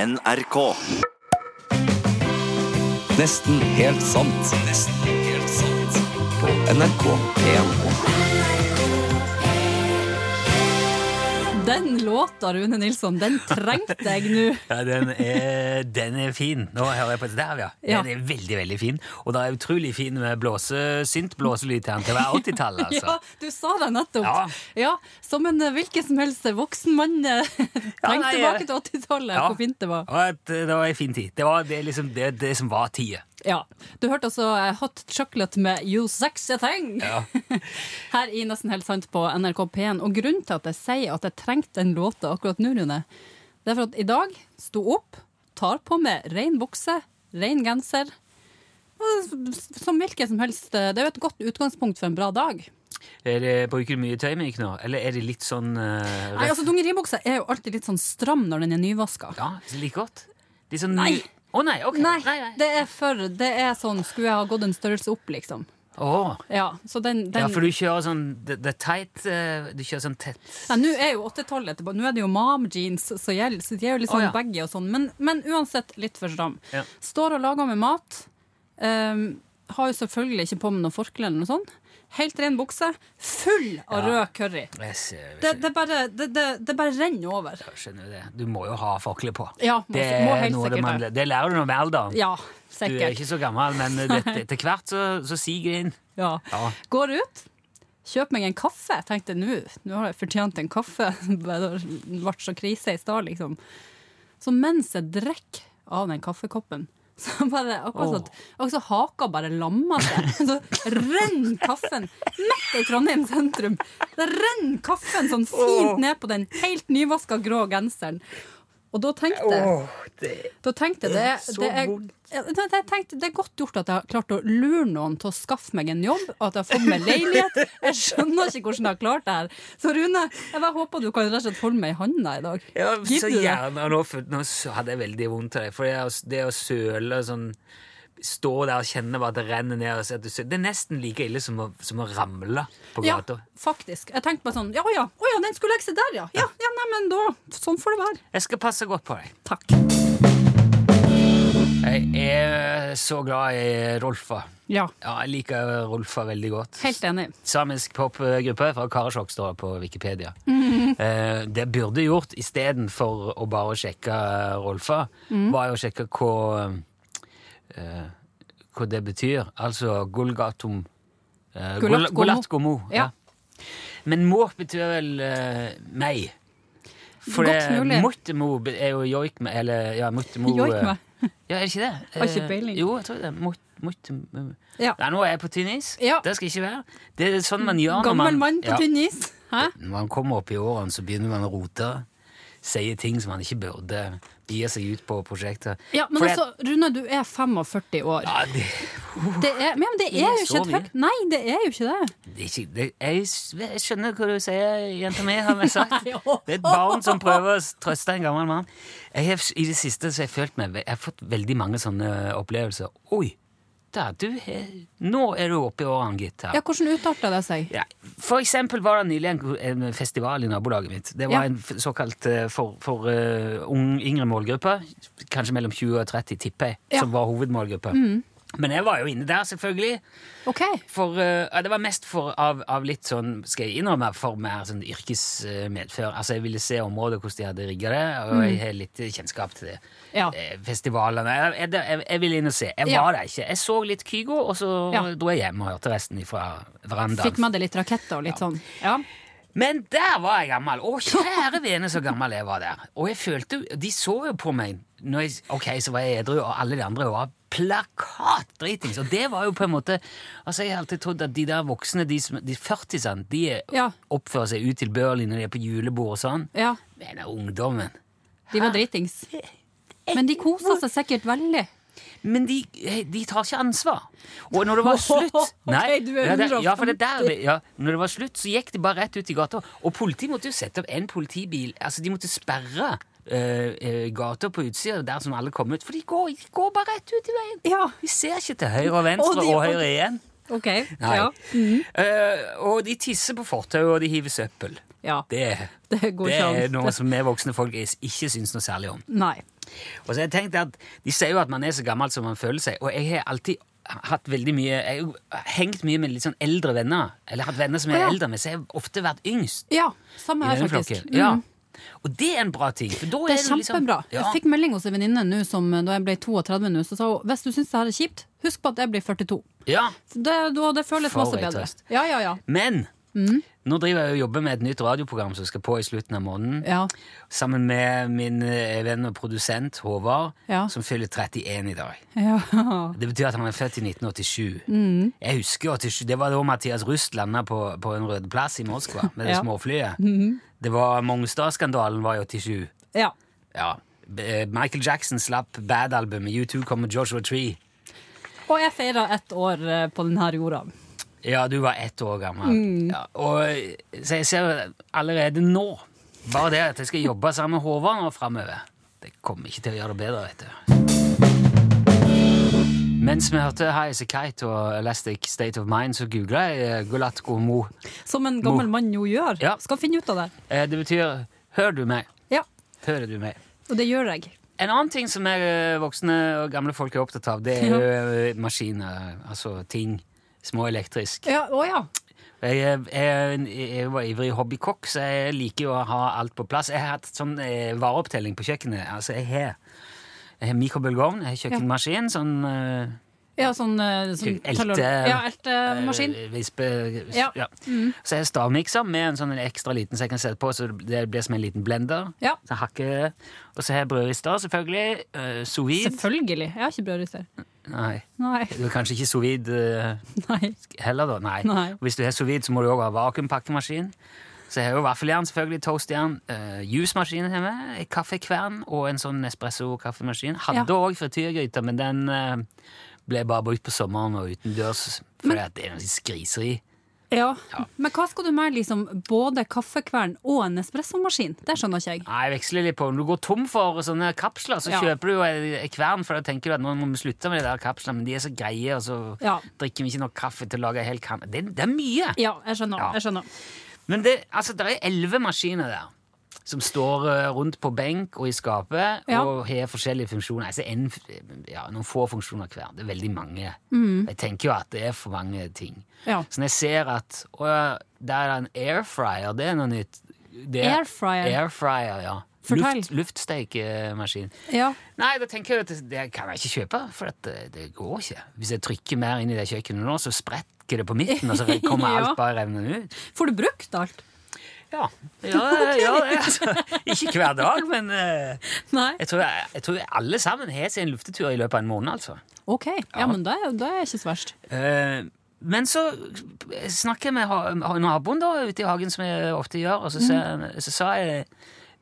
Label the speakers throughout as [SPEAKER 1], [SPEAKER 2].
[SPEAKER 1] NRK.
[SPEAKER 2] Nesten helt sant. Nesten helt sant. På NRK1.
[SPEAKER 3] Den låta, Rune Nilsson, den trengte jeg nå.
[SPEAKER 4] Ja, den er, den er fin. Nå hører jeg på det der, ja.
[SPEAKER 3] Ja.
[SPEAKER 4] Den er veldig, veldig fin. Og det er utrolig fin med blåse, synt blåselyd til den til å være 80-tall, altså.
[SPEAKER 3] Ja, du sa det nettopp.
[SPEAKER 4] Ja.
[SPEAKER 3] Ja, som en eh, hvilken som helst voksen mann eh, trengte
[SPEAKER 4] nei,
[SPEAKER 3] tilbake
[SPEAKER 4] jeg-
[SPEAKER 3] til 80-tallet.
[SPEAKER 4] Ja.
[SPEAKER 3] Hvor fint det var.
[SPEAKER 4] Og at eh, det var en fin tid. Det var det, liksom, det, det som var tida.
[SPEAKER 3] Ja. Du hørte altså eh, Hot Chocolate med You Sexy Thing
[SPEAKER 4] Ja.
[SPEAKER 3] her i Nesten helt sant på NRK P1. Og grunnen til at jeg sier at jeg trengte den låta akkurat nå, Rune, det er for at i dag sto opp, tar på meg ren bukse, ren genser. og Som hvilken som helst. eh, Det er jo et godt utgangspunkt for en bra dag.
[SPEAKER 4] Er det, bruker du mye tøymik nå, eller er det litt sånn eh,
[SPEAKER 3] Nei, altså Dungeribuksa er jo alltid litt sånn stram når den er nyvaska.
[SPEAKER 4] Ja, like godt. Litt sånn
[SPEAKER 3] Nei.
[SPEAKER 4] Å nei, ok.
[SPEAKER 3] Nei, det er for Det er sånn Skulle jeg ha gått en størrelse opp, liksom.
[SPEAKER 4] Åh.
[SPEAKER 3] Ja, så den, den
[SPEAKER 4] Ja, for du kjører sånn det, det er tight eh, Du kjører sånn tett
[SPEAKER 3] Nei, Nå er jo 80-tallet tilbake. Nå er det jo mom jeans som gjelder, så de er jo litt
[SPEAKER 4] Å,
[SPEAKER 3] sånn
[SPEAKER 4] ja.
[SPEAKER 3] baggy og sånn. Men, men uansett litt for stram.
[SPEAKER 4] Ja.
[SPEAKER 3] Står og lager med mat. ehm, har jo selvfølgelig ikke på meg noe forkle eller noe sånt. Helt ren bukse. Full av rød curry.
[SPEAKER 4] Jeg ser-
[SPEAKER 3] Det, det, bare, det, det, det bare renner over.
[SPEAKER 4] Jeg skjønner jo det. Du må jo ha forkle på.
[SPEAKER 3] Ja, må-
[SPEAKER 4] det,
[SPEAKER 3] må
[SPEAKER 4] er
[SPEAKER 3] helt
[SPEAKER 4] noe det,
[SPEAKER 3] sikkert
[SPEAKER 4] mangler. det lærer du noe med alderen.
[SPEAKER 3] Ja,
[SPEAKER 4] du er
[SPEAKER 3] sikkert.
[SPEAKER 4] ikke så gammel, men det, etter hvert så, så siger det inn.
[SPEAKER 3] Ja.
[SPEAKER 4] Ja.
[SPEAKER 3] Går ut, kjøper meg en kaffe. Jeg tenkte nå, nå har jeg fortjent en kaffe. Det ble så krise i stad, liksom. Så mens jeg drikker av den kaffekoppen, så bare akkurat sånn at- akkurat så haka bare lamma seg. Så renner kaffen midt i Trondheim sentrum. Det renner kaffen sånn fint ned på den helt nyvaska grå genseren. Og da tenkte jeg da tenkte jeg det, det er, Ja, da- da tenkte, jeg, det er godt gjort at jeg har klart å lure noen til å skaffe meg en jobb, og at jeg har fått meg leilighet. Jeg skjønner ikke hvordan jeg har klart det her. Så Rune, jeg bare håper du kan rett og slett holde meg i handa i dag.
[SPEAKER 4] Ja, så
[SPEAKER 3] Gidder du det?
[SPEAKER 4] gjerne. Og Nå, f- nå s- hadde jeg veldig vondt av det. For det å, s- det å søle sånn Stå der og kjenne bare at det renner ned. Og se at du søler. Det er nesten like ille som å, som å ramle på
[SPEAKER 3] Ja,
[SPEAKER 4] gata.
[SPEAKER 3] faktisk. Jeg tenkte bare sånn Ja ja, å ja, den skulle legge seg der, ja. Ja, ja nei, men da Sånn får det være.
[SPEAKER 4] Jeg skal passe godt på deg.
[SPEAKER 3] Takk.
[SPEAKER 4] Jeg er så glad i Rolfa.
[SPEAKER 3] Ja,
[SPEAKER 4] Ja, jeg liker Rolfa veldig godt.
[SPEAKER 3] helt enig.
[SPEAKER 4] samisk popgruppe fra Karasjok, står det på Wikipedia.
[SPEAKER 3] Mm.
[SPEAKER 4] Eh, det jeg burde gjort istedenfor å bare sjekke eh, Rolfa,
[SPEAKER 3] Mm.
[SPEAKER 4] var jo å sjekke hva eh, hva det betyr. Altså Gulgatum eh,
[SPEAKER 3] Gulat
[SPEAKER 4] Gul- Gulat Gomo.
[SPEAKER 3] Ja.
[SPEAKER 4] Ja. Men må betyr vel eh, meg. For
[SPEAKER 3] Godt
[SPEAKER 4] det-
[SPEAKER 3] mulig.
[SPEAKER 4] Mottemo be- er jo joikme, eller ja, Mottemo eh,
[SPEAKER 3] Joikme.
[SPEAKER 4] Ja, er det ikke det?
[SPEAKER 3] Har ikke
[SPEAKER 4] Eh,
[SPEAKER 3] peiling.
[SPEAKER 4] Jo, jeg tror det. Mot, eh, Mottemo-
[SPEAKER 3] Ja.
[SPEAKER 4] Nei, nå er jeg på tynn is.
[SPEAKER 3] Ja.
[SPEAKER 4] Det skal ikke være. Det er sånn man gjør når
[SPEAKER 3] Gammel
[SPEAKER 4] man,
[SPEAKER 3] mann på
[SPEAKER 4] Ja.
[SPEAKER 3] tynn is. Hæ?
[SPEAKER 4] Når man kommer opp i årene, så begynner man å rote. Sier ting som man ikke burde. Gir seg ut på prosjekter.
[SPEAKER 3] Ja, men
[SPEAKER 4] Fordi-
[SPEAKER 3] altså, Rune, du er 45 år.
[SPEAKER 4] ja, det,
[SPEAKER 3] Det er, men ja, men det
[SPEAKER 4] Det er
[SPEAKER 3] er jo ikke
[SPEAKER 4] så
[SPEAKER 3] et høyt Nei, det er jo ikke det.
[SPEAKER 4] det er ikke, det, jeg, s- jeg skjønner hva du sier, jenta mi, har jeg sagt.
[SPEAKER 3] Nei, åh.
[SPEAKER 4] Det er et barn som prøver å s- trøste en gammel mann. Jeg har, s- I det siste så har jeg følt meg ve- Jeg har fått veldig mange sånne opplevelser. Oi! Der, du er, nå er du oppe i årene, gitt. her.
[SPEAKER 3] Ja, Hvordan utarta det seg?
[SPEAKER 4] Ja. For eksempel var det nylig en, en festival i nabolaget mitt. Det var
[SPEAKER 3] Ja.
[SPEAKER 4] en f- såkalt eh, for, for eh, ung, yngre målgruppe, kanskje mellom 20 og 30, tipper jeg,
[SPEAKER 3] Ja. Mm.
[SPEAKER 4] som var hovedmålgruppe. Men jeg var jo inne der, selvfølgelig.
[SPEAKER 3] Ok,
[SPEAKER 4] For, eh, ja, det var mest for, av, av litt sånn, skal jeg innrømme, for mer sånn yrkesmedfør. Altså, jeg ville se området, hvordan de hadde rigga det, og jeg har litt kjennskap til det.
[SPEAKER 3] Mm. Ja.
[SPEAKER 4] Eh, Festivalene jeg, jeg, jeg, jeg ville inn og se. Jeg
[SPEAKER 3] Ja.
[SPEAKER 4] var der ikke. Jeg så litt Kygo, og så
[SPEAKER 3] Ja.
[SPEAKER 4] dro jeg hjem og hørte resten fra verandaen.
[SPEAKER 3] Fikk med deg litt raketter og litt sånn. Ja.
[SPEAKER 4] Men der var jeg gammel! Å, kjære vene, så gammel jeg var der. Og jeg følte jo- De så jo på meg når jeg, Ok, så var jeg edru, og alle de andre var plakatdritings. Og det var jo på en måte Altså, jeg har alltid trodd at de der voksne, de, som- de 40-sene, de er-
[SPEAKER 3] Ja.
[SPEAKER 4] oppfører seg utilbørlig når de er på julebord og sånn.
[SPEAKER 3] ja.
[SPEAKER 4] Men ungdommen
[SPEAKER 3] De
[SPEAKER 4] Ah.
[SPEAKER 3] var dritings. Men de kosa seg sikkert veldig.
[SPEAKER 4] Men de, eh, de tar ikke ansvar. Og når det var
[SPEAKER 3] Ok,
[SPEAKER 4] slutt
[SPEAKER 3] du er
[SPEAKER 4] ja, det, ja, for
[SPEAKER 3] 150.
[SPEAKER 4] det der, ble- ja, Når det var slutt, så gikk de bare rett ut i gata. Og politiet måtte jo sette opp en politibil. Altså, De måtte sperre eh, eh, gata på utsida der som alle kom ut. For de går, de går bare rett ut i veien.
[SPEAKER 3] Ja.
[SPEAKER 4] De ser ikke til høyre og venstre
[SPEAKER 3] Og
[SPEAKER 4] og,
[SPEAKER 3] de- og-
[SPEAKER 4] høyre igjen.
[SPEAKER 3] Ok,
[SPEAKER 4] Nei.
[SPEAKER 3] ja. Mhm.
[SPEAKER 4] Eh, og de tisser på fortauet, og de hiver søppel.
[SPEAKER 3] Ja,
[SPEAKER 4] Det,
[SPEAKER 3] det går
[SPEAKER 4] det
[SPEAKER 3] ikke
[SPEAKER 4] er
[SPEAKER 3] an.
[SPEAKER 4] noe som vi voksne folk is- ikke syns noe særlig om.
[SPEAKER 3] Nei.
[SPEAKER 4] Og så har jeg tenkt at De sier jo at man er så gammel som man føler seg, og jeg har alltid hatt veldig mye Jeg har jo hengt mye med litt sånn eldre venner, eller hatt venner som er
[SPEAKER 3] Å, ja.
[SPEAKER 4] eldre, men så har jeg ofte vært yngst.
[SPEAKER 3] Ja, samme
[SPEAKER 4] i
[SPEAKER 3] her,
[SPEAKER 4] venneflokken.
[SPEAKER 3] faktisk.
[SPEAKER 4] Ja.
[SPEAKER 3] Mm.
[SPEAKER 4] Og det er en bra ting. For da
[SPEAKER 3] Det
[SPEAKER 4] er
[SPEAKER 3] er
[SPEAKER 4] du liksom,
[SPEAKER 3] kjempebra.
[SPEAKER 4] Ja.
[SPEAKER 3] Jeg fikk melding hos en venninne nå som eh, da jeg ble 32 nå, så sa hun hvis du syns det her er kjipt, husk på at jeg blir 42.
[SPEAKER 4] ja.
[SPEAKER 3] Det, da, det føles
[SPEAKER 4] For
[SPEAKER 3] masse
[SPEAKER 4] ei
[SPEAKER 3] bedre.
[SPEAKER 4] trøst.
[SPEAKER 3] Ja, ja, ja.
[SPEAKER 4] Men
[SPEAKER 3] Mm.
[SPEAKER 4] nå driver jeg og jobber med et nytt radioprogram som skal på i slutten av måneden.
[SPEAKER 3] ja.
[SPEAKER 4] Sammen med min eh, venn og produsent Håvard,
[SPEAKER 3] Ja.
[SPEAKER 4] som fyller 31 i dag.
[SPEAKER 3] ja.
[SPEAKER 4] Det betyr at han er født i 1987. Jeg husker 87, Det var da Mathias Rust landa på, på en rød plass i Moskva med det
[SPEAKER 3] Ja.
[SPEAKER 4] småflyet. Det var Mongstad-skandalen var i 87.
[SPEAKER 3] ja.
[SPEAKER 4] Ja. B- eh, Michael Jackson slapp Bad-albumet. U2 kom med Joshua Tree.
[SPEAKER 3] Og jeg feira ett år eh, på denne jorda.
[SPEAKER 4] Ja, du var ett år gammel. Ja, og, så jeg ser allerede nå bare det at jeg skal jobbe sammen med Håvard nå framover. Det kommer ikke til å gjøre det bedre, vet du. Mens vi hørte High As A Kite og Elastic State of Mind, så googla jeg eh, Golatko Mo.
[SPEAKER 3] Som en gammel
[SPEAKER 4] Mo.
[SPEAKER 3] mann jo gjør.
[SPEAKER 4] Ja.
[SPEAKER 3] Skal finne ut av det.
[SPEAKER 4] Eh, Det betyr 'hør du meg'?
[SPEAKER 3] Ja,
[SPEAKER 4] Hører du meg?
[SPEAKER 3] Og det gjør jeg.
[SPEAKER 4] En annen ting som jeg, eh, voksne og gamle folk er opptatt av, det er jo eh, maskiner. Altså ting. Små elektrisk.
[SPEAKER 3] Ja, Å ja.
[SPEAKER 4] Jeg, er- jeg, er en- jeg var ivrig hobbykokk, så jeg liker jo å ha alt på plass. Jeg har hatt sånn eh, vareopptelling på kjøkkenet. Altså, jeg har, jeg har mikrobølgeovn, jeg har kjøkkenmaskin, sånn eh,
[SPEAKER 3] ja sånn, eh, sånn
[SPEAKER 4] Elte-
[SPEAKER 3] teller- Ja, eltemaskin. Mm.
[SPEAKER 4] eh, vispe...
[SPEAKER 3] Ja.
[SPEAKER 4] Så jeg har stavmikser med en sånn en ekstra liten som jeg kan sette på, så det blir som en liten blender.
[SPEAKER 3] Ja.
[SPEAKER 4] Så jeg hakker, og så har jeg brødrister, selvfølgelig. Uh, sous vide.
[SPEAKER 3] Selvfølgelig. Jeg har ikke brødrister.
[SPEAKER 4] Nei,
[SPEAKER 3] Nei.
[SPEAKER 4] du er kanskje ikke sous vide eh,
[SPEAKER 3] Nei.
[SPEAKER 4] heller, da. Nei.
[SPEAKER 3] Nei.
[SPEAKER 4] Og Hvis du har sous vide, så må du òg ha vakuumpakkemaskin. Så jeg har jo vaffeljern, selvfølgelig, toastjern, uh, jusmaskin hjemme, kaffekvern og en sånn Nespresso-kaffemaskin. Hadde
[SPEAKER 3] Ja.
[SPEAKER 4] òg frityrgryte, men den eh, ble bare brukt på sommeren og utendørs fordi at det er noe skriseri.
[SPEAKER 3] Ja. Men hva skal du med liksom, både kaffekvern og en espressomaskin? Det skjønner ikke jeg.
[SPEAKER 4] Nei, jeg veksler litt på. Når du går tom for sånne kapsler, så
[SPEAKER 3] Ja.
[SPEAKER 4] kjøper du jo ei- ei kvern, for da tenker du at nå må vi slutte med de der kapslene, men de er så greie, og så
[SPEAKER 3] Ja.
[SPEAKER 4] drikker vi ikke nok kaffe til å lage ei hel kanne. Det, det er mye!
[SPEAKER 3] Ja, jeg skjønner.
[SPEAKER 4] Ja.
[SPEAKER 3] Jeg skjønner.
[SPEAKER 4] Men det, altså, det er elleve maskiner der. Som står eh, rundt på benk og i skapet
[SPEAKER 3] Ja.
[SPEAKER 4] og har forskjellige funksjoner. Altså en, f- ja, noen få funksjoner hver. Det er veldig mange. Jeg tenker jo at det er for mange ting.
[SPEAKER 3] Mm. Ja.
[SPEAKER 4] Så når jeg ser at å, ja, der er en air fryer, det er noe nytt. Det er-
[SPEAKER 3] Air fryer?
[SPEAKER 4] Air fryer, ja.
[SPEAKER 3] Fortell.
[SPEAKER 4] Luft, luftsteikemaskin.
[SPEAKER 3] Ja.
[SPEAKER 4] Nei, da tenker jeg at det- det kan jeg ikke kjøpe, for at det, det går ikke. Hvis jeg trykker mer inn i det kjøkkenet nå, så spretter det på midten, og så kommer
[SPEAKER 3] Ja.
[SPEAKER 4] alt bare revnende ut.
[SPEAKER 3] Får du brukt alt?
[SPEAKER 4] Ja, ja, ja det, altså. Ikke hver dag, men eh,
[SPEAKER 3] Nei.
[SPEAKER 4] jeg, tror jeg, jeg tror alle sammen har sin luftetur i løpet av en måned. altså.
[SPEAKER 3] OK. Ja, men det, er- det er ikke så verst.
[SPEAKER 4] Eh, men så snakker jeg med ha- ha- naboen da, ute i hagen, som jeg ofte gjør, og så, ser, så sa jeg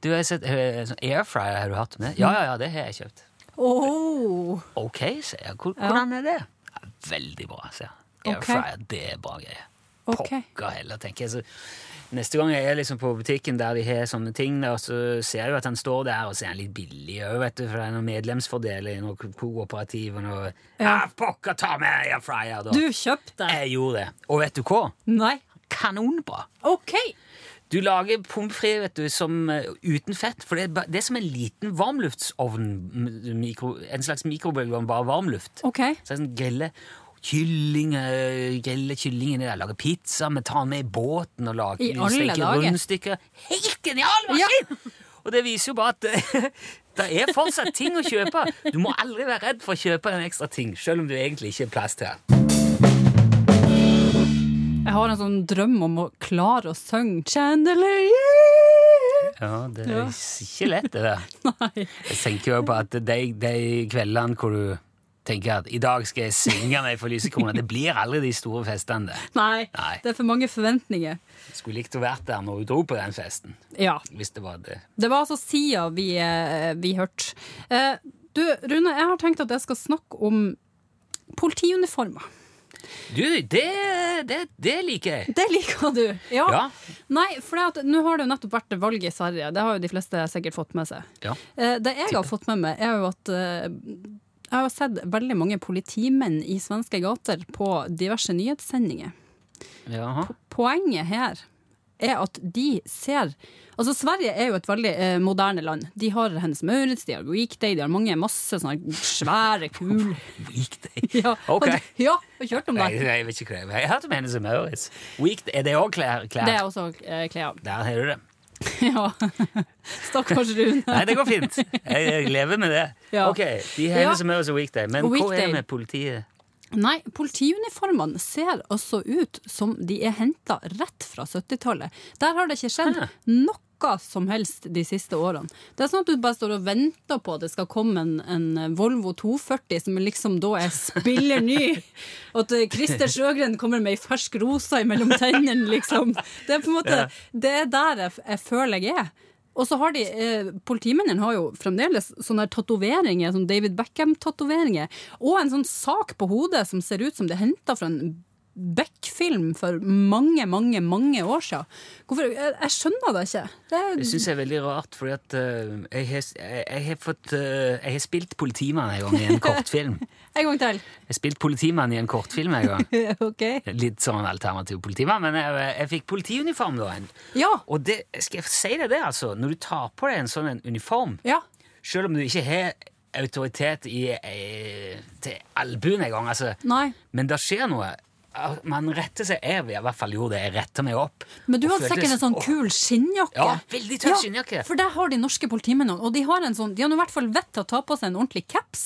[SPEAKER 4] du har jeg sett eh, sånn airfryer har du hatt med? Ja, ja, ja, det har jeg kjøpt.
[SPEAKER 3] Oh.
[SPEAKER 4] Ok, sier jeg. Hvor- Hvordan er det? Ja, Veldig bra, sier jeg.
[SPEAKER 3] Ok.
[SPEAKER 4] Airfryer, det er bra greier.
[SPEAKER 3] Ok.
[SPEAKER 4] Pokker heller, tenker jeg. Så neste gang jeg er liksom på butikken der de har sånne ting, der, så ser jeg jo at han står der, og så er han litt billig òg, vet du, for det er noen medlemsfordeler i noe kooperativ og noe ja.
[SPEAKER 3] Ja.
[SPEAKER 4] Pokker, ta med airfryer, da!
[SPEAKER 3] Du kjøpte?
[SPEAKER 4] Jeg gjorde det. Og vet du hva?
[SPEAKER 3] Nei.
[SPEAKER 4] Kanonbra!
[SPEAKER 3] OK.
[SPEAKER 4] Du lager pommes frites vet du, som, eh, uten fett, for det er, ba- det er som en liten varmluftsovn. m- Mikro, en slags mikrobølgeovn, bare varmluft.
[SPEAKER 3] OK.
[SPEAKER 4] Så jeg sånn grille kylling, øh, grille kylling inni der, lage pizza, vi tar den med i båten og lager
[SPEAKER 3] I alle
[SPEAKER 4] steker
[SPEAKER 3] dager.
[SPEAKER 4] rundstykker. Helt genial maskin! Og det viser jo bare at det er fortsatt ting å kjøpe. Du må aldri være redd for å kjøpe en ekstra ting, selv om du egentlig ikke har plass til den.
[SPEAKER 3] Jeg har en sånn drøm om å klare å synge Chandelier.
[SPEAKER 4] Ja, det er
[SPEAKER 3] Ja.
[SPEAKER 4] ikke lett, det der.
[SPEAKER 3] Nei.
[SPEAKER 4] Jeg tenker jo på at de, de kveldene hvor du tenker at i dag skal jeg svinge meg for lysekroner, det blir aldri de store festene. det.
[SPEAKER 3] Nei.
[SPEAKER 4] Nei.
[SPEAKER 3] Det er for mange forventninger.
[SPEAKER 4] Skulle likt å vært der når du dro på den festen,
[SPEAKER 3] Ja.
[SPEAKER 4] hvis det var det.
[SPEAKER 3] Det var altså Sia vi, eh, vi hørte. Eh, Du, Rune, jeg har tenkt at jeg skal snakke om politiuniformer.
[SPEAKER 4] Du, det, det, det liker jeg.
[SPEAKER 3] Det liker du. Ja.
[SPEAKER 4] Ja.
[SPEAKER 3] Nei, for det at, nå har det jo nettopp vært valg i Sverige. Det har jo de fleste sikkert fått med seg.
[SPEAKER 4] Ja.
[SPEAKER 3] Eh, Det jeg har fått med meg, er jo at eh, jeg har sett veldig mange politimenn i svenske gater på diverse nyhetssendinger.
[SPEAKER 4] Jaha.
[SPEAKER 3] Poenget her er at de ser Altså Sverige er jo et veldig eh, moderne land. De har Hennes Maurits, de har Weekday, de har mange masse sånne svære, kule
[SPEAKER 4] Weekday.
[SPEAKER 3] ja,
[SPEAKER 4] Ok.
[SPEAKER 3] har du- ja, har du hørt om
[SPEAKER 4] Nei,
[SPEAKER 3] det?
[SPEAKER 4] jeg vet ikke hva jeg Jeg hørte om henne som Maurits. Weekd, er det òg klær? klær?
[SPEAKER 3] Det er også eh, klær.
[SPEAKER 4] Der har du det.
[SPEAKER 3] Ja. Stakkars Rune.
[SPEAKER 4] Nei, det går fint. Jeg, jeg lever med det.
[SPEAKER 3] Ja.
[SPEAKER 4] Ok, De har
[SPEAKER 3] Ja.
[SPEAKER 4] henne som Maurits og Weekday. Men
[SPEAKER 3] Og
[SPEAKER 4] hva
[SPEAKER 3] Weekday.
[SPEAKER 4] er med politiet?
[SPEAKER 3] Nei, politiuniformene ser altså ut som de er henta rett fra 70-tallet. Der har det ikke skjedd
[SPEAKER 4] Hæ?
[SPEAKER 3] noe som helst de siste årene. Det er sånn at du bare står og venter på at det skal komme en, en Volvo 240 som liksom da er spiller ny. Og at eh, Christer Sjøgren kommer med ei fersk rosa mellom tennene, liksom. Det er på en måte Det er der jeg, jeg føler jeg er. Og så har de, eh, Politimennene har jo fremdeles sånne her tatoveringer, sånn David Beckham-tatoveringer. Og en sånn sak på hodet som ser ut som det er henta fra en Beck-film for mange, mange mange år siden. Hvorfor, jeg, jeg skjønner det ikke. Det
[SPEAKER 4] Det
[SPEAKER 3] er,
[SPEAKER 4] syns jeg er veldig rart, fordi at eh, jeg, har, jeg, jeg har fått eh, Jeg har spilt politimann en gang i en kortfilm.
[SPEAKER 3] en gang til.
[SPEAKER 4] Jeg har spilt politimann i en kortfilm en gang.
[SPEAKER 3] OK.
[SPEAKER 4] Litt som en alternativ politimann, men jeg, jeg fikk politiuniform da. en.
[SPEAKER 3] Ja.
[SPEAKER 4] Og det, skal jeg si deg det, altså, når du tar på deg en sånn en uniform,
[SPEAKER 3] ja.
[SPEAKER 4] selv om du ikke har autoritet i, eh, til albuen engang, altså,
[SPEAKER 3] Nei.
[SPEAKER 4] men det skjer noe. Ah, Man retter seg, jeg i hvert fall gjorde det, jeg retter meg opp.
[SPEAKER 3] Men du
[SPEAKER 4] Og
[SPEAKER 3] hadde
[SPEAKER 4] følte-
[SPEAKER 3] sikkert en sånn
[SPEAKER 4] Åh,
[SPEAKER 3] kul skinnjakke.
[SPEAKER 4] Ja, veldig tøff skinnjakke.
[SPEAKER 3] For der har de norske politimennene. Og de har en sånn, de har nå i hvert fall vett til å ta på seg en ordentlig caps.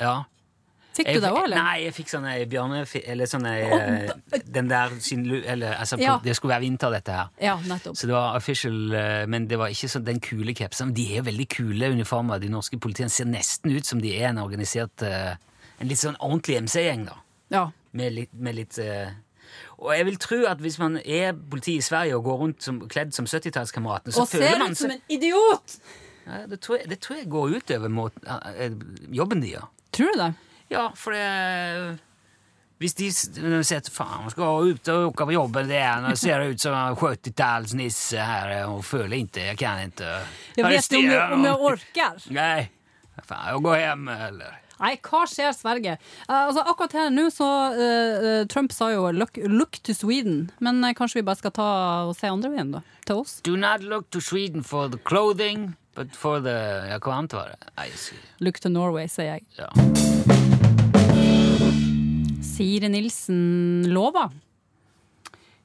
[SPEAKER 4] Ja.
[SPEAKER 3] sånn- Fikk du det òg, eller?
[SPEAKER 4] Nei, jeg fikk sånn ei bjørne... Eller sånn ei
[SPEAKER 3] Å,
[SPEAKER 4] eh, Den der skinnlu... Eller altså,
[SPEAKER 3] Ja.
[SPEAKER 4] på- det skulle være vinter, dette her.
[SPEAKER 3] Ja, nettopp.
[SPEAKER 4] Så det var official, eh, men det var ikke sånn den kule kapsen. De er veldig kule uniformer. De norske politiene ser nesten ut som de er en organisert eh, En litt sånn ordentlig MC-gjeng, da.
[SPEAKER 3] Ja.
[SPEAKER 4] Med litt, med litt eh, Og jeg vil tro at hvis man er politi i Sverige og går rundt som, kledd som 70-tallskameratene, så
[SPEAKER 3] Og
[SPEAKER 4] føler
[SPEAKER 3] ser
[SPEAKER 4] man
[SPEAKER 3] ut som
[SPEAKER 4] seg
[SPEAKER 3] en idiot!
[SPEAKER 4] ja, det, tror jeg, det tror jeg går ut over måten, eh, eh, jobben de gjør.
[SPEAKER 3] Tror du det?
[SPEAKER 4] Ja, for det Hvis de s- når de sier at faen, man skal ut og åka på jobben, det er, nå ser det ut som en 70-tallsnisse her, og føler ikke, jeg kan ikke
[SPEAKER 3] Jeg vet ikke om jeg, om jeg orker.
[SPEAKER 4] Nei. Faen, jeg går hjem, eller
[SPEAKER 3] Nei, hva skjer Sverige? Eh, altså, akkurat her nå så eh, eh, Trump sa jo look, 'look to Sweden', men eh, kanskje vi bare skal ta og se andre veien, da? Til oss?
[SPEAKER 4] Do not look to Sweden for the clothing, but for the Ja, hva annet var det? Nei, jeg sier-
[SPEAKER 3] Look to Norway, sier jeg.
[SPEAKER 4] ja.
[SPEAKER 3] Siri Nilsen lover.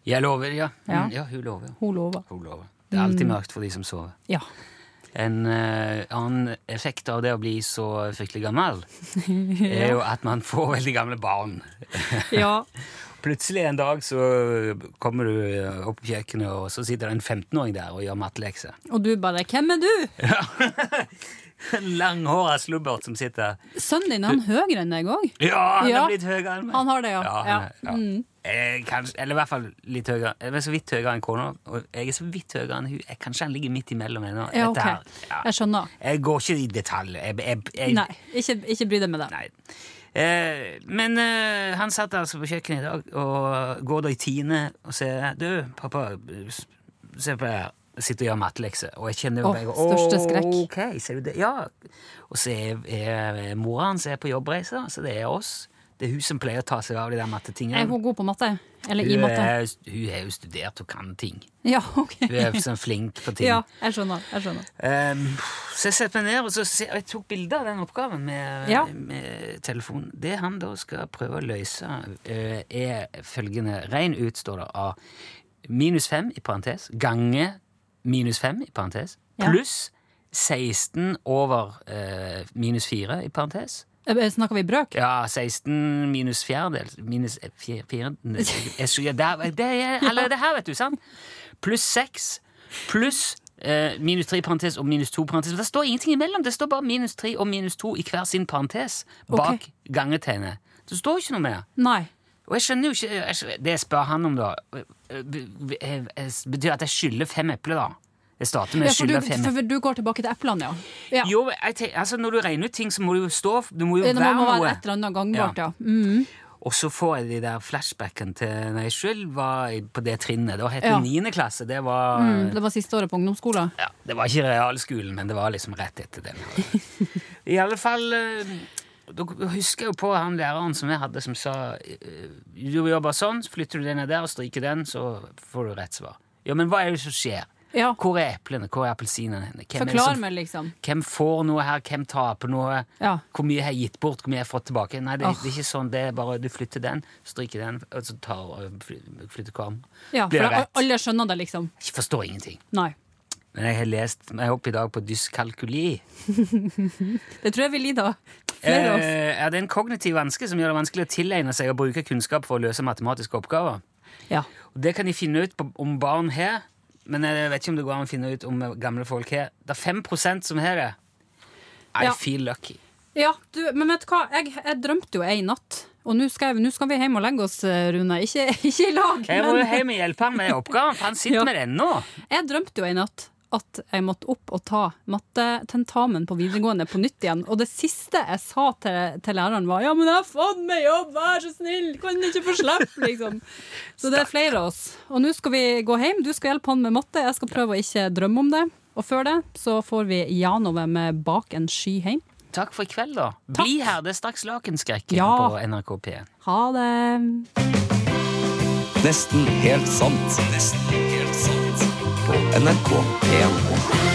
[SPEAKER 4] Jeg lover, ja.
[SPEAKER 3] Ja. Mm.
[SPEAKER 4] Mm, ja, hun lover. ja.
[SPEAKER 3] Hun lover.
[SPEAKER 4] Hun lover. Det er alltid mørkt for de som sover.
[SPEAKER 3] Ja.
[SPEAKER 4] En eh, annen effekt av det å bli så fryktelig gammel, er jo at man får veldig gamle barn.
[SPEAKER 3] ja.
[SPEAKER 4] Plutselig en dag så kommer du opp på kjøkkenet, og så sitter det en 15-åring der og gjør mattelekser.
[SPEAKER 3] Og du bare 'Hvem er du?'
[SPEAKER 4] En langhåra slubbert som sitter
[SPEAKER 3] Sønnen din er han høyere enn deg òg.
[SPEAKER 4] Ja, han
[SPEAKER 3] Ja,
[SPEAKER 4] har blitt høyere enn meg!
[SPEAKER 3] han har det, ja. Mm.
[SPEAKER 4] ja, han er-
[SPEAKER 3] Ja.
[SPEAKER 4] ja. Eh, kanskje, eller i hvert fall litt høyere. Jeg er så vidt høyere enn kona, og jeg er så vidt høyere enn hun. Jeg- Kanskje han ligger midt imellom henne. og
[SPEAKER 3] Ja,
[SPEAKER 4] dette
[SPEAKER 3] OK.
[SPEAKER 4] her- ja.
[SPEAKER 3] Jeg skjønner.
[SPEAKER 4] Jeg går ikke i detalj. Jeg, jeg, jeg,
[SPEAKER 3] Nei, ikke, ikke bry deg med det.
[SPEAKER 4] Nei. Eh, men eh, han satt altså på kjøkkenet i dag og går da i tiende og sier Du, pappa, s- se på det her. Jeg Sitter og gjør mattelekser. Og jeg kjenner jo
[SPEAKER 3] Åh,
[SPEAKER 4] bare,
[SPEAKER 3] største
[SPEAKER 4] «Åh,
[SPEAKER 3] skrekk.
[SPEAKER 4] Ok, ser du det? Ja. Og så er, er mora hans er på jobbreise, da, så det er oss. Det er hun som pleier å ta seg av de der mattetingene.
[SPEAKER 3] Er hun god på matte? Eller i
[SPEAKER 4] Hun
[SPEAKER 3] matte?
[SPEAKER 4] er, hun er jo studert og kan ting.
[SPEAKER 3] Ja, OK.
[SPEAKER 4] Hun er sånn flink på ting.
[SPEAKER 3] Ja, jeg skjønner. Jeg skjønner.
[SPEAKER 4] Ehm, så jeg setter meg ned og så se- og jeg tok bilde av den oppgaven med,
[SPEAKER 3] Ja.
[SPEAKER 4] med telefonen. Det han da skal prøve å løse, eh, er følgende Rein ut står det av minus 5 i parentes gange minus 5 i parentes
[SPEAKER 3] Ja.
[SPEAKER 4] pluss 16 over eh, minus 4 i parentes.
[SPEAKER 3] Eh, Snakker vi brøk?
[SPEAKER 4] Ja, 16 minus fjerdedel Minus eh, fire, fire, ne- jeg skulle- ja, der, det er allerede her, vet du, sant? Pluss 6 pluss eh, minus 3 parentes og minus 2 parentes. Men Det står ingenting imellom. Det står bare minus 3 og minus 2 i hver sin parentes bak
[SPEAKER 3] Ok.
[SPEAKER 4] gangetegnet. Det står ikke noe mer.
[SPEAKER 3] Nei.
[SPEAKER 4] Og jeg skjønner jo ikke eh, jeg skjønner, Det jeg spør han om, da, eh, be- be- eh, betyr at jeg skylder fem epler, da. Jeg starter med
[SPEAKER 3] Ja,
[SPEAKER 4] å
[SPEAKER 3] for, du,
[SPEAKER 4] skylde fem epler.
[SPEAKER 3] for du går tilbake til eplene, ja. ja.
[SPEAKER 4] Jo, men jeg tenker, altså Når du regner ut ting, så må du jo stå Det må jo
[SPEAKER 3] det må
[SPEAKER 4] være
[SPEAKER 3] må
[SPEAKER 4] noe.
[SPEAKER 3] være et eller annet gangbart, ja. Mm.
[SPEAKER 4] Og så får jeg de der flashbackene til når jeg selv var i- på det trinnet. Det het
[SPEAKER 3] Ja. Mm.
[SPEAKER 4] det niende klasse. Det var,
[SPEAKER 3] Det var siste året på ungdomsskolen.
[SPEAKER 4] ja, det var ikke realskolen, men det var liksom rett etter den. I alle fall eh, Da husker jeg jo på han læreren som jeg hadde, som sa eh, Du jobber sånn, så flytter du den ned der og stryker den, så får du rett svar. Ja, men hva er det som skjer?
[SPEAKER 3] Ja,
[SPEAKER 4] Hvor er eplene? Hvor er appelsinene? henne? Hvem, er det
[SPEAKER 3] Forklar
[SPEAKER 4] som-
[SPEAKER 3] meg, liksom.
[SPEAKER 4] hvem får noe her? Hvem taper noe?
[SPEAKER 3] Ja.
[SPEAKER 4] Hvor mye har jeg gitt bort? Hvor mye har jeg fått tilbake? Nei, det,
[SPEAKER 3] Åh.
[SPEAKER 4] det er ikke sånn. Det er bare du flytter den, stryker den, og så tar, og fly- flytter kvarm.
[SPEAKER 3] ja
[SPEAKER 4] Blir
[SPEAKER 3] for
[SPEAKER 4] det rett?
[SPEAKER 3] alle skjønner det, liksom.
[SPEAKER 4] Jeg forstår ingenting.
[SPEAKER 3] Nei.
[SPEAKER 4] Men jeg har lest Jeg er oppe i dag på dyskalkuli.
[SPEAKER 3] Det tror jeg vi lider av.
[SPEAKER 4] Eh,
[SPEAKER 3] Flere av oss.
[SPEAKER 4] ja, det er en kognitiv vanske som gjør det vanskelig å tilegne seg og bruke kunnskap for å løse matematiske oppgaver.
[SPEAKER 3] Ja.
[SPEAKER 4] Og Det kan de finne ut på, om barn har, men jeg vet ikke om det går an å finne ut om gamle folk har. Det er 5 som har det. I
[SPEAKER 3] Ja.
[SPEAKER 4] feel lucky.
[SPEAKER 3] ja du, men vet du hva? Jeg, jeg drømte jo ei natt, og nå skal, jeg, nå skal vi hjem og legge oss, eh, Rune. Ikke, ikke i lag,
[SPEAKER 4] Jeg må jo
[SPEAKER 3] men
[SPEAKER 4] hjem og hjelpe ham med oppgaven, for han sitter
[SPEAKER 3] Ja.
[SPEAKER 4] med den nå.
[SPEAKER 3] jeg drømte jo ei natt. At jeg måtte opp og ta mattetentamen på videregående på nytt igjen. Og det siste jeg sa til, til læreren, var 'ja, men jeg har fått meg jobb, vær så snill, kan jeg ikke få slippe', liksom. Så det er flere av oss. Og nå skal vi gå hjem. Du skal hjelpe han med matte, jeg skal prøve å ikke drømme om det. Og før det så får vi Janove med 'Bak en sky hjem'.
[SPEAKER 4] Takk for i kveld, da. Bli her, det er straks Lakenskrekken
[SPEAKER 3] Ja.
[SPEAKER 4] på NRK P1.
[SPEAKER 3] Ha det!
[SPEAKER 2] Nesten helt sant. Nesten helt sant. På NRK P1.